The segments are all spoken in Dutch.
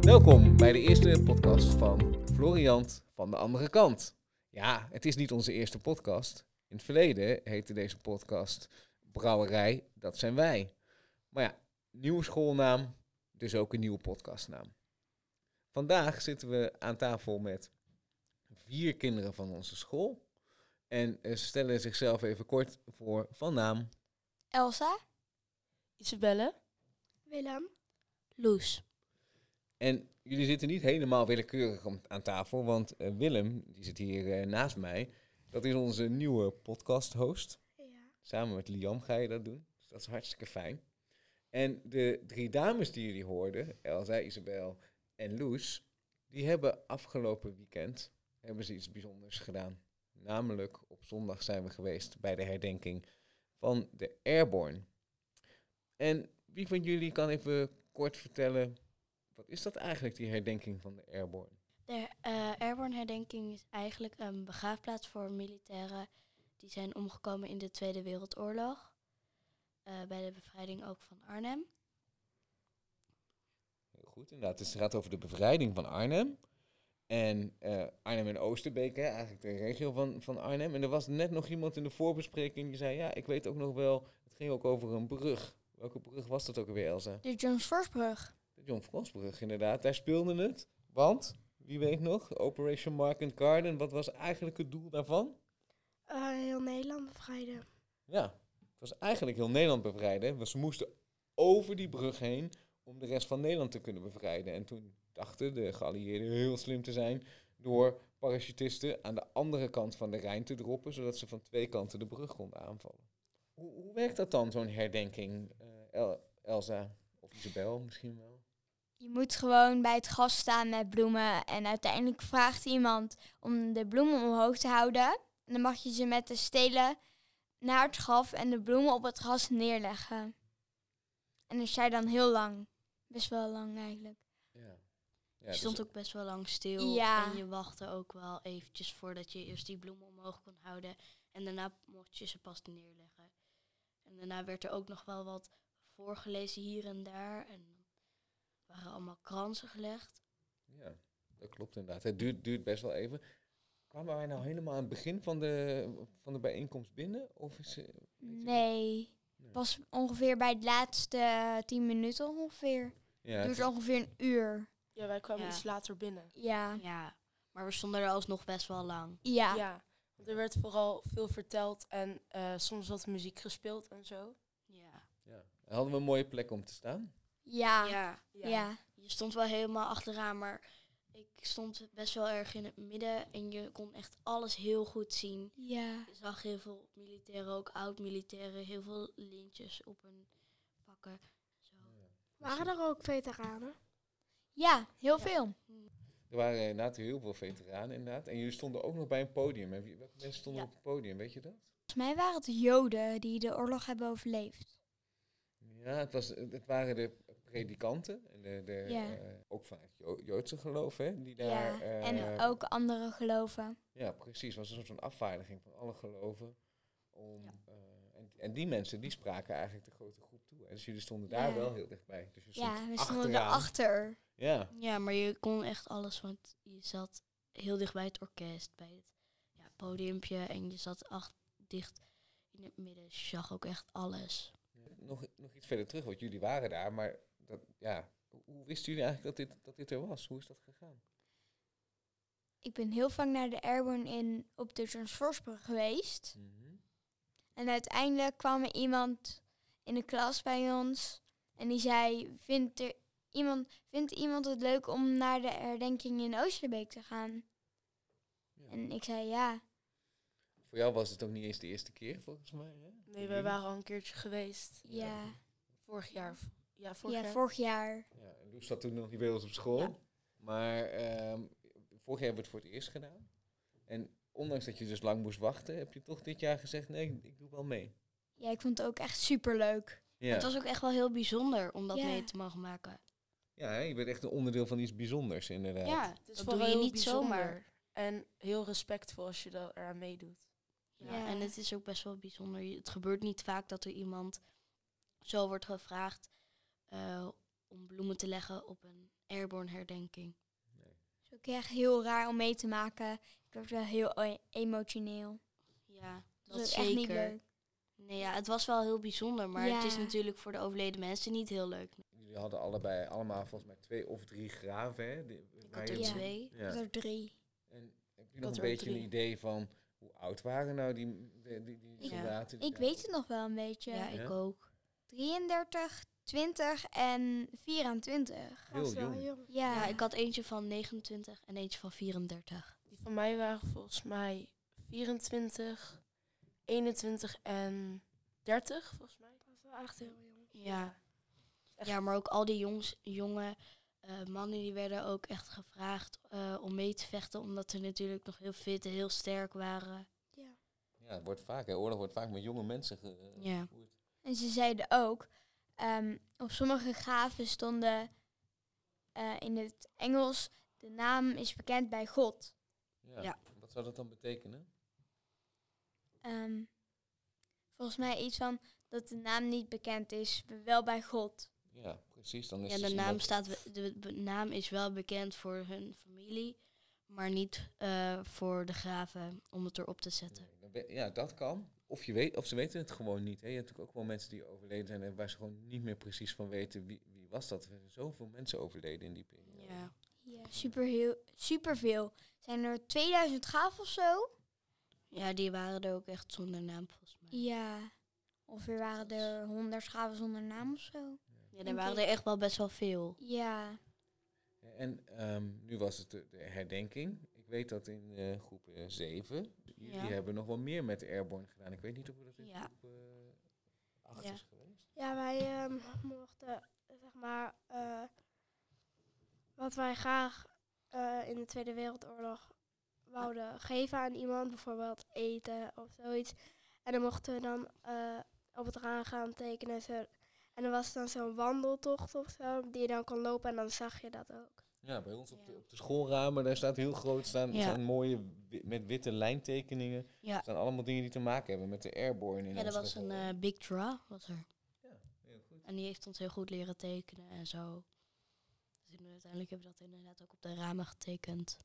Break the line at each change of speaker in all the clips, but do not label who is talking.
Welkom bij de eerste podcast van Floriant van de andere kant. Ja, het is niet onze eerste podcast. In het verleden heette deze podcast Brouwerij, dat zijn wij. Maar ja, nieuwe schoolnaam, dus ook een nieuwe podcastnaam. Vandaag zitten we aan tafel met vier kinderen van onze school. En eh, ze stellen zichzelf even kort voor van naam.
Elsa,
Isabelle.
Willem,
Loes.
En jullie zitten niet helemaal willekeurig om- aan tafel, want eh, Willem, die zit hier eh, naast mij, dat is onze nieuwe podcast-host.
ja.
Samen met Liam ga je dat doen, dus dat is hartstikke fijn. En de drie dames die jullie hoorden, Elsa, Isabel en Loes, die hebben afgelopen weekend hebben ze iets bijzonders gedaan. Namelijk op zondag zijn we geweest bij de herdenking van de Airborne. En wie van jullie kan even kort vertellen, wat is dat eigenlijk, die herdenking van de Airborne?
De eh Airborne herdenking is eigenlijk een begraafplaats voor militairen die zijn omgekomen in de Tweede Wereldoorlog. eh, bij de bevrijding ook van Arnhem.
Heel goed, inderdaad. Dus het gaat over de bevrijding van Arnhem. En eh, Arnhem en Oosterbeek, hè, eigenlijk de regio van, van Arnhem. En er was net nog iemand in de voorbespreking die zei, ja, ik weet ook nog wel, het ging ook over een brug. Welke brug was dat ook alweer, Elsa?
De John Forsbrug.
De John Frosbrug, inderdaad. Daar speelde het. Want, wie weet nog, Operation Market Garden, wat was eigenlijk het doel daarvan?
Eh, heel Nederland bevrijden.
Ja, het was eigenlijk heel Nederland bevrijden. Want ze moesten over die brug heen om de rest van Nederland te kunnen bevrijden. En toen dachten de geallieerden heel slim te zijn door parachutisten aan de andere kant van de Rijn te droppen, zodat ze van twee kanten de brug konden aanvallen. Hoe, hoe werkt dat dan, zo'n herdenking, eh, El- Elsa of Isabel misschien wel?
Je moet gewoon bij het gas staan met bloemen. En uiteindelijk vraagt iemand om de bloemen omhoog te houden. En dan mag je ze met de stelen naar het graf en de bloemen op het gras neerleggen. En dan sta je dan heel lang. Best wel lang eigenlijk.
Ja. dus
Je stond ook best wel lang stil.
Ja.
En je wachtte ook wel eventjes voordat je eerst die bloemen omhoog kon houden. En daarna mocht je ze pas neerleggen. En daarna werd er ook nog wel wat voorgelezen hier en daar. En waren allemaal kransen gelegd.
Ja, dat klopt inderdaad. Het duurt, duurt best wel even. Kwamen wij nou helemaal aan het begin van de, van de bijeenkomst binnen? Of is, eh, weet je dat?
Nee. Pas ongeveer bij de laatste tien minuten ongeveer.
Ja,
Duurt ongeveer een uur.
Ja, wij kwamen
Ja.
iets later binnen.
Ja.
Ja, maar we stonden er alsnog best wel lang.
Ja.
Want er werd vooral veel verteld en eh, soms wat muziek gespeeld en zo.
Ja.
Ja. Hadden we een mooie plek om te staan?
Ja. Ja.
ja. Je stond wel helemaal achteraan, maar ik stond best wel erg in het midden. En je kon echt alles heel goed zien.
ja.
Je zag heel veel militairen, ook oud-militairen, heel veel lintjes op hun pakken. Zo.
Waren er ook veteranen?
Ja, heel veel.
Er waren inderdaad heel veel veteranen inderdaad. En jullie stonden ook nog bij een podium. En wie- welke mensen stonden
Ja.
op het podium, weet je dat?
Volgens mij waren het Joden die de oorlog hebben overleefd.
Ja, het, was, het waren de predikanten. En de, de,
Ja.
eh, ook vanuit Jo- Joodse geloof, hè? Die daar,
ja. en
eh,
ook andere geloven.
Ja, precies. Het was een soort van afvaardiging van alle geloven. Om, eh, en, en die mensen, die spraken eigenlijk de grote groep toe. En dus jullie stonden daar
Ja.
wel heel dichtbij. Dus je stond
Ja, we stonden
achteraan.
erachter.
Ja,
Ja, maar je kon echt alles, want je zat heel dicht bij het orkest, bij het ja, podiumpje. En je zat ach- dicht in het midden. Dus je zag ook echt alles.
nog, nog iets verder terug, want jullie waren daar. Maar dat, ja, hoe wisten jullie eigenlijk dat dit, dat dit er was? Hoe is dat gegaan?
Ik ben heel vaak naar de Airborne in, op de Transforsbrug geweest. En uiteindelijk kwam er iemand in de klas bij ons. En die zei, vindt, er iemand, vindt iemand het leuk om naar de herdenking in Oosterbeek te gaan?
Ja.
En ik zei ja.
Voor jou was het ook niet eens de eerste keer, volgens mij. Hè?
Nee,
Jullie?
wij waren al een keertje geweest.
Ja,
Vorig jaar. Ja, vorig
ja
jaar.
vorig jaar.
Ja, en Loes zat toen nog niet bij ons op school.
Ja.
Maar ehm, vorig jaar hebben we het voor het eerst gedaan. En ondanks dat je dus lang moest wachten, heb je toch dit jaar gezegd, nee, ik, ik doe wel mee.
Ja, ik vond het ook echt superleuk.
Ja,
Het was ook echt wel heel bijzonder om dat
Ja.
mee te mogen maken.
ja hè, je bent echt een onderdeel van iets bijzonders, inderdaad.
Ja,
Het
dat
is
doe
vooral
je
heel
niet
bijzonder.
zomaar.
En heel respectvol als je daar- eraan meedoet.
Ja,
Ja.
En het is ook best wel bijzonder. Je- Het gebeurt niet vaak dat er iemand zo wordt gevraagd eh, om bloemen te leggen op een airborne herdenking.
is ook echt heel raar om mee te maken. Ik werd wel heel e- emotioneel.
Ja, dat,
Dat is ook
zeker.
echt niet leuk.
Nee, ja, het was wel heel bijzonder, maar het is
Ja.
natuurlijk voor de overleden mensen niet heel leuk.
Jullie hadden allebei allemaal volgens mij twee of drie graven. Hè? Die-
Ik
waar
had
je-
er
Ja.
twee.
Ja.
Dat er drie.
En heb je nog
er
een
ook
beetje een
drie.
idee van hoe oud waren nou die, die, die, die
Ja.
soldaten? die
Ik
daar-
weet het nog wel een beetje.
Ja,
Ja.
ik ook.
33, 20 en 24.
was wel
jong.
jong.
Ja,
Ja. ik had eentje van 29 en eentje van 34.
Die van mij waren volgens mij 24, 21 en 30, volgens mij.
Dat was wel echt heel jong.
Ja,
Echt.
ja maar ook al die jongens, jonge eh, mannen die werden ook echt gevraagd eh, om mee te vechten, omdat ze natuurlijk nog heel fit en heel sterk waren.
Ja, het wordt vaak, hè. oorlog wordt vaak met jonge mensen ge- eh,
Ja.
gevoerd.
En ze zeiden ook, ehm, op sommige graven stonden eh, in het Engels, de naam is bekend bij God.
Ja.
Ja.
Wat zou dat dan betekenen?
Ehm, volgens mij iets van dat de naam niet bekend is, maar wel bij God.
Ja, precies. Dan is
Ja,
het
de
iemand-
naam, staat, we- de be- naam is wel bekend voor hun familie, maar niet eh, voor de graven om het erop te zetten.
Nee, dan ben- Ja, dat kan. Of, je weet, of ze weten het gewoon niet. Hè. Je hebt natuurlijk ook wel mensen die overleden zijn... en waar ze gewoon niet meer precies van weten wie, wie was dat. Er zijn zoveel mensen overleden in die periode.
Ja.
Ja, super superveel. Zijn er 2000 graven of zo?
ja, die waren er ook echt zonder naam volgens mij.
Ja. Ongeveer waren er 100 graven zonder naam of zo.
Ja, er waren er echt wel best wel veel.
Ja.
En ehm, nu was het de, de herdenking. Ik weet dat in eh, groep 7. Jullie
Ja.
hebben nog wel meer met Airborne gedaan. Ik weet niet of dat in
Ja.
groep 8
Ja.
is geweest.
Ja, wij ehm, mochten, zeg maar, eh, wat wij graag eh, in de Tweede Wereldoorlog wouden geven aan iemand, bijvoorbeeld eten of zoiets. En dan mochten we dan eh, op het raam gaan tekenen. Zo. En er was dan zo'n wandeltocht of zo, die je dan kon lopen en dan zag je dat ook.
Ja, bij ons op de,
Ja.
op de schoolramen, daar staat heel groot staan,
Ja.
staan mooie wi- met witte lijntekeningen.
Ja.
staan allemaal dingen die te maken hebben met de Airborne. In
Ja, er
ons
was een
geval.
eh, Big Draw, was er.
Heel goed.
En die heeft ons heel goed leren tekenen en zo. Dus in- uiteindelijk hebben we dat inderdaad ook op de ramen getekend.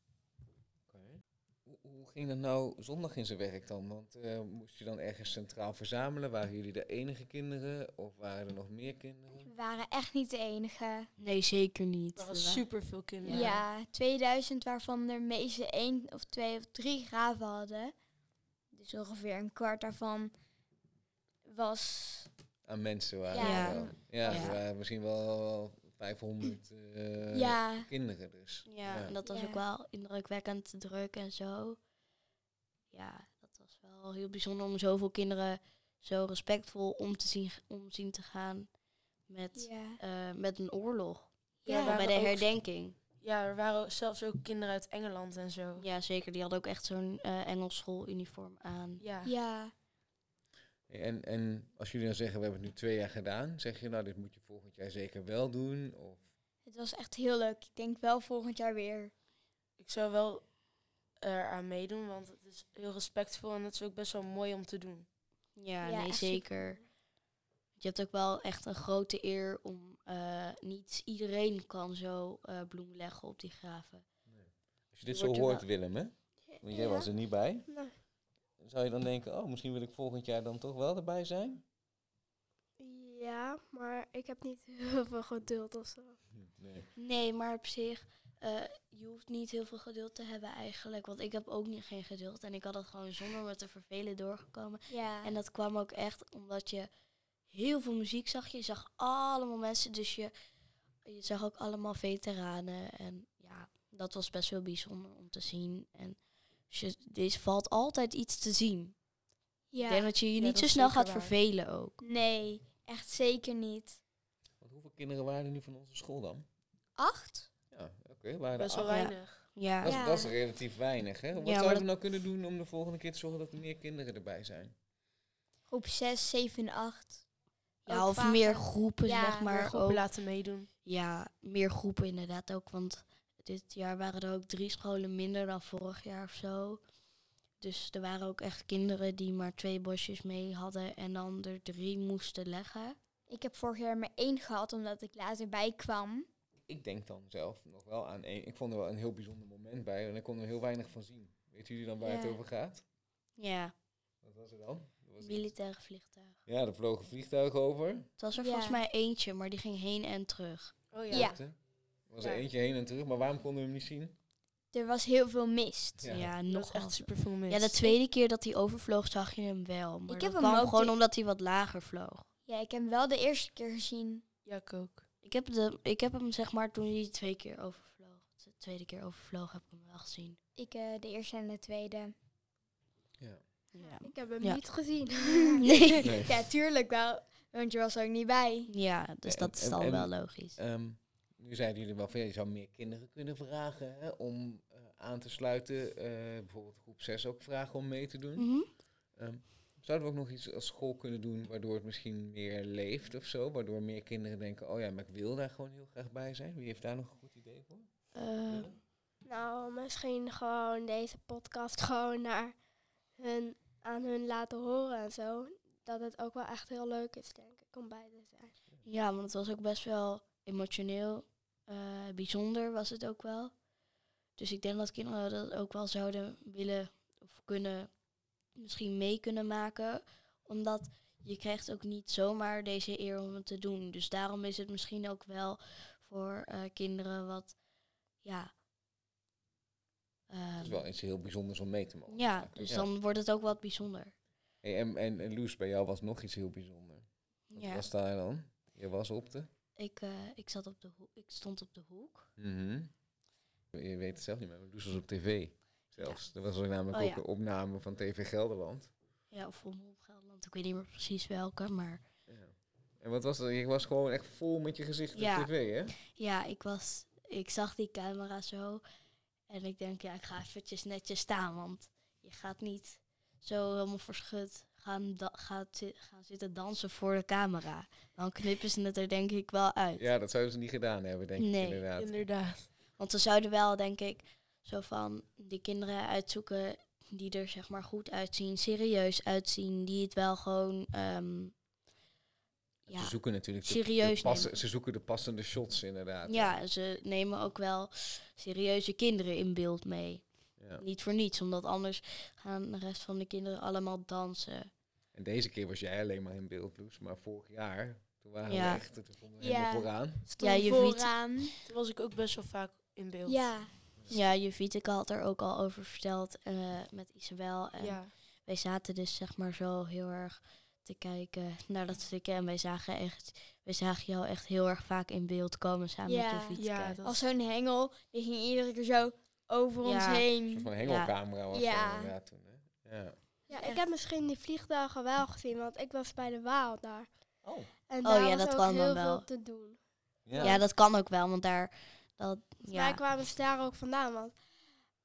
Oké. Hoe, hoe ging dat nou zondag in zijn werk dan? Want eh, moest je dan ergens centraal verzamelen? Waren jullie de enige kinderen of waren er nog meer kinderen?
We waren echt niet de enige.
Nee, zeker niet.
Er waren
We wa-
super veel kinderen.
Ja, 2000 waarvan de meeste één of twee of drie graven hadden. Dus ongeveer een kwart daarvan was...
aan mensen waren.
Ja.
er wel. Ja,
Ja.
er waren misschien wel 500 eh,
ja,
kinderen dus.
Ja, en dat was
Ja.
ook wel indrukwekkend druk en zo. Ja, dat was wel heel bijzonder om zoveel kinderen zo respectvol om te zien, om zien te gaan met,
ja.
eh, met een oorlog.
Ja,
Ja,
waren
bij de
ook-
herdenking.
Ja, er waren ook zelfs ook kinderen uit Engeland en zo.
Ja, zeker. Die hadden ook echt zo'n eh, Engels schooluniform aan.
Ja.
ja.
En, en als jullie dan zeggen, we hebben het nu twee jaar gedaan, zeg je nou, dit moet je volgend jaar zeker wel doen? Of
Het was echt heel leuk. Ik denk wel volgend jaar weer.
Ik zou wel eraan meedoen, want het is heel respectvol en het is ook best wel mooi om te doen.
Ja,
Ja,
nee,
echt super.
zeker. Je hebt ook wel echt een grote eer om... eh, niet iedereen kan zo eh bloem leggen op die graven.
als je dit
Wordt
zo
er
hoort, Willem, hè? Want jij
Ja.
was er niet bij.
Nou,
Zou je dan denken, oh, misschien wil ik volgend jaar dan toch wel erbij zijn?
ja, maar ik heb niet heel veel geduld of zo.
Nee.
Nee, maar op zich, eh, je hoeft niet heel veel geduld te hebben eigenlijk. Want ik heb ook niet, geen geduld. En ik had het gewoon zonder me te vervelen doorgekomen.
Ja.
En dat kwam ook echt omdat je heel veel muziek zag. Je zag allemaal mensen, dus je, je zag ook allemaal veteranen. En ja, dat was best wel bijzonder om te zien. En dus je, er valt altijd iets te zien.
ja.
Ik denk dat je je
Ja,
niet
dat
zo
is
snel
zeker
gaat
waar.
vervelen ook.
Nee, echt zeker niet.
Want hoeveel kinderen waren er nu van onze school dan?
Acht?
Ja, oké, waren er
Best wel
acht.
Ja.
weinig.
Ja,
Dat, is,
Ja.
dat is relatief weinig, hè? Wat
maar
zouden we
dat-
nou kunnen doen om de volgende keer te zorgen dat er meer kinderen erbij zijn?
Groep 6, 7 en 8.
ja
ook
of
vaker.
meer groepen,
Ja,
zeg
Maar
maar.
groepen
ook.
laten meedoen.
Ja, meer groepen inderdaad ook. Want dit jaar waren er ook drie scholen minder dan vorig jaar of zo. Dus er waren ook echt kinderen die maar twee bosjes mee hadden en dan er drie moesten leggen.
Ik heb vorig jaar maar één gehad, omdat ik later bij kwam.
Ik denk dan zelf nog wel aan één. Ik vond er wel een heel bijzonder moment bij en ik kon er heel weinig van zien. Weten jullie dan waar
Ja.
het over gaat?
Ja,
Wat was er dan? Dat was-
militaire vliegtuig.
Ja, er vlogen vliegtuigen over.
Het was er
Ja.
volgens mij eentje, maar die ging heen en terug.
Oh
Ja.
Er was er
Ja.
eentje heen en terug, maar waarom konden we hem niet zien?
Er was heel veel mist.
Ja.
Ja,
Nog
nog
echt super veel mis.
Ja, de tweede keer dat hij overvloog zag je hem wel. Maar
Ik
dat
heb hem
kwam
ook
gewoon
die-
omdat hij wat lager vloog.
Ja, ik heb hem wel de eerste keer gezien.
Ja, ik ook.
Ik heb, de, ik heb hem zeg maar toen hij twee keer overvloog. De tweede keer overvloog heb ik hem wel gezien.
Ik eh, de eerste en de tweede.
Ja.
Ik heb hem
Ja.
niet gezien.
Nee.
Nee.
Ja, tuurlijk wel, want je was er ook niet bij.
Ja, dus
En-
dat is
en-
dan
en-
wel logisch.
Ehm, nu zeiden jullie wel van ja, je zou meer kinderen kunnen vragen hè, om eh, aan te sluiten. Eh, bijvoorbeeld groep 6 ook vragen om mee te doen.
Mhm.
Ehm, zouden we ook nog iets als school kunnen doen waardoor het misschien meer leeft of zo? Waardoor meer kinderen denken, oh ja, maar ik wil daar gewoon heel graag bij zijn. Wie heeft daar nog een goed idee voor?
Eh,
nou, misschien gewoon deze podcast gewoon naar hun, aan hun laten horen en zo. Dat het ook wel echt heel leuk is, denk ik, om bij te zijn.
ja, want het was ook best wel emotioneel. eh, bijzonder was het ook wel. Dus ik denk dat kinderen dat ook wel zouden willen of kunnen, misschien mee kunnen maken. Omdat je krijgt ook niet zomaar deze eer om het te doen. Dus daarom is het misschien ook wel voor eh, kinderen wat, ja.
Het is
ehm,
wel iets heel bijzonders om mee te mogen.
ja,
maken.
dus
Ja.
dan wordt het ook wat bijzonder.
Hey, en, en, en Loes, bij jou was nog iets heel bijzonders. Wat
Ja.
was daar dan? Je was op de...
Ik, eh, ik, zat op de hoek, ik stond op de hoek.
Mhm. Je weet het zelf niet meer, maar Loes was op tv. Zelfs. Er was ook namelijk
Oh,
ook
ja.
een omname van TV Gelderland.
Ja, of Omroep Gelderland. Ik weet niet meer precies welke, maar...
Ja. En wat was dat? Je was gewoon echt vol met je gezicht op
Ja.
tv, hè?
Ja, ik was... Ik zag die camera zo. En ik denk, ja, ik ga eventjes netjes staan. Want je gaat niet zo helemaal verschut gaan, da- gaat zi- gaan zitten dansen voor de camera. Dan knippen ze het er denk ik wel uit.
Ja, dat zouden ze niet gedaan hebben, denk ik
Nee.
inderdaad.
Inderdaad.
Want ze zouden wel, denk ik, zo van die kinderen uitzoeken die er zeg maar goed uitzien, serieus uitzien, die het wel gewoon... ehm,
Ze zoeken natuurlijk de-
Serieus
de passen-
nemen.
ze zoeken de passende shots inderdaad.
Ja, ze nemen ook wel serieuze kinderen in beeld mee.
Ja.
Niet voor niets, omdat anders gaan de rest van de kinderen allemaal dansen.
En deze keer was jij alleen maar in beeld, Loes, maar vorig jaar toen waren
Ja.
we echt toen stonden we helemaal
Ja.
vooraan.
Stond
Ja, je
vooraan.
Toen was ik ook best wel vaak in beeld.
Ja,
Ja, Joviteka had er ook al over verteld eh, met Isabel. En
Ja.
wij zaten dus zeg maar zo heel erg te kijken naar dat stukje. En wij zagen, echt, wij zagen jou echt heel erg vaak in beeld komen samen
Ja.
met Joviteka.
Ja, dat
als zo'n hengel, die ging iedere keer zo over ons
Ja.
Een soort
heen.
van hengelcamera was
Ja.
dat inderdaad toen. Hè? Ja.
Ja,
Echt.
ik heb misschien die vliegtuigen wel gezien, want ik was bij de Waal daar.
Oh.
En
Oh,
daar
ja,
was
dat
ook
kan dan
heel
wel.
veel te doen.
Ja.
Ja, dat kan ook wel, want daar... Dat,
Ja.
ja.
Maar kwamen ze daar ook vandaan, want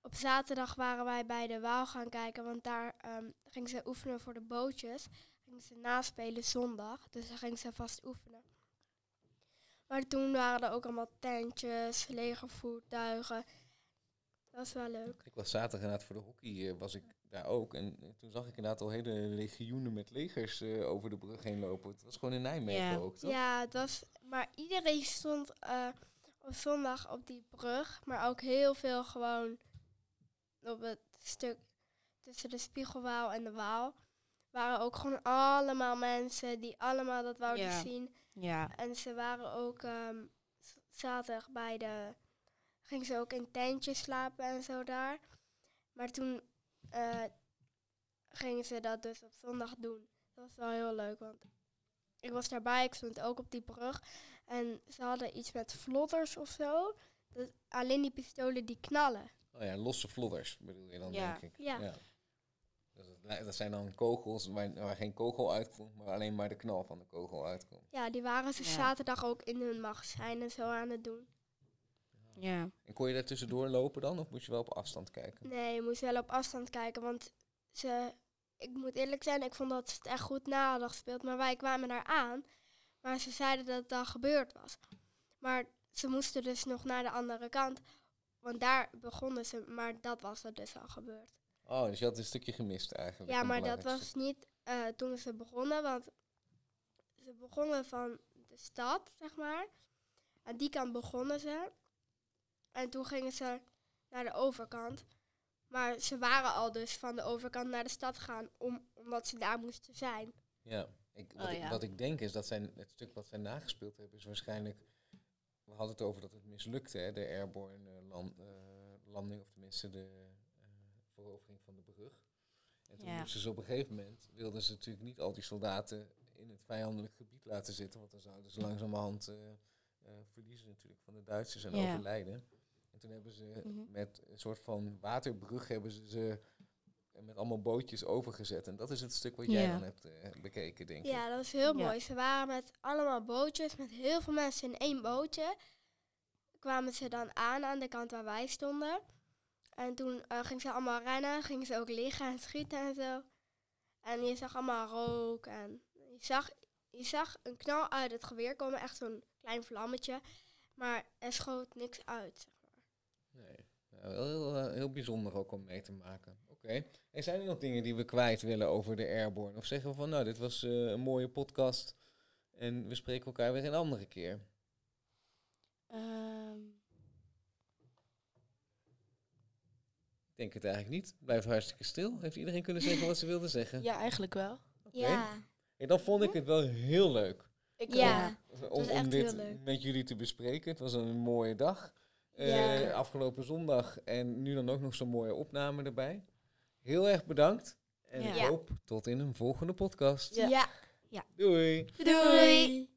op zaterdag waren wij bij de Waal gaan kijken, want daar ehm gingen ze oefenen voor de bootjes. Gingen ze naspelen zondag, dus daar gingen ze vast oefenen. Maar toen waren er ook allemaal tentjes, legervoertuigen. Dat was wel leuk.
Ik was zaterdag inderdaad voor de hockey, eh, was ik daar ook. En eh, toen zag ik inderdaad al hele legioenen met legers eh, over de brug heen lopen. Het was gewoon in Nijmegen
Ja.
ook, toch?
Ja, het was, maar iedereen stond eh, op zondag op die brug, maar ook heel veel gewoon op het stuk tussen de Spiegelwaal en de Waal. Waren ook gewoon allemaal mensen die allemaal dat wouden
Ja.
zien.
ja.
En ze waren ook ehm, z- zaterdag bij de. Gingen ze ook in tentjes slapen en zo daar. Maar toen eh, gingen ze dat dus op zondag doen. Dat was wel heel leuk, want ik was daarbij, ik stond ook op die brug. En ze hadden iets met vlotters of zo. Dat, alleen die pistolen die knallen.
Oh ja, losse vlodders bedoel je dan,
Ja.
denk ik.
Ja.
Dus het lij- dat zijn dan kogels waar, waar geen kogel uitkomt, maar alleen maar de knal van de kogel uitkomt.
Ja, die waren ze
Ja.
zaterdag ook in hun magazijn en zo aan het doen.
ja.
En kon je daar tussendoor lopen dan, of moest je wel op afstand kijken?
Nee, je moest wel op afstand kijken, want ze, ik moet eerlijk zijn, ik vond dat ze het echt goed na hadden gespeeld. Maar wij kwamen daar aan, maar ze zeiden dat het al gebeurd was. Maar ze moesten dus nog naar de andere kant, want daar begonnen ze, maar dat was er dus al gebeurd.
Oh, dus je had een stukje gemist eigenlijk.
Ja,
een
maar dat
belangrijk
was niet eh, toen ze begonnen, want ze begonnen van de stad, zeg maar. Aan die kant begonnen ze. En toen gingen ze naar de overkant. Maar ze waren al dus van de overkant naar de stad gegaan, om, omdat ze daar moesten zijn.
Ja, ik, wat,
Oh,
ik,
ja.
wat ik denk is dat zijn, het stuk wat zij nagespeeld hebben is waarschijnlijk... We hadden het over dat het mislukte, hè, de airborne eh, land- eh, landing, of tenminste de eh, verovering van de brug. En toen
Ja.
moesten ze op een gegeven moment, wilden ze natuurlijk niet al die soldaten in het vijandelijk gebied laten zitten, want dan zouden ze langzamerhand eh, eh, verliezen natuurlijk van de Duitsers en
Ja.
overlijden. En toen hebben ze
Mhm.
met een soort van waterbrug hebben ze ze met allemaal bootjes overgezet. En dat is het stuk wat jij
Ja.
dan hebt eh, bekeken, denk ik.
Ja, dat was heel
Ja.
mooi. Ze waren met allemaal bootjes, met heel veel mensen in één bootje. Kwamen ze dan aan aan de kant waar wij stonden. En toen eh, gingen ze allemaal rennen, gingen ze ook liggen en schieten en zo. En je zag allemaal rook en je zag, je zag een knal uit het geweer komen, echt zo'n klein vlammetje. Maar er schoot niks uit.
Nee. Nou, wel heel, eh, heel bijzonder ook om mee te maken. Oké. En zijn er nog dingen die we kwijt willen over de Airborne? Of zeggen we van, nou, dit was eh, een mooie podcast en we spreken elkaar weer een andere keer?
Ehm,
Ik denk het eigenlijk niet. Het Blijft hartstikke stil. Heeft iedereen kunnen zeggen wat ze wilde zeggen?
Ja, eigenlijk wel.
Oké.
Ja.
En dan vond ik het wel heel leuk.
Ik
Ja.
ook.
Om,
was
om
echt
dit
heel leuk.
met jullie te bespreken. Het was een mooie dag. Eh,
Ja.
Afgelopen zondag. En nu dan ook nog zo'n mooie opname erbij. Heel erg bedankt. En
Ja.
ik
Ja.
hoop tot in een volgende podcast.
Ja.
ja.
Doei.
Doei.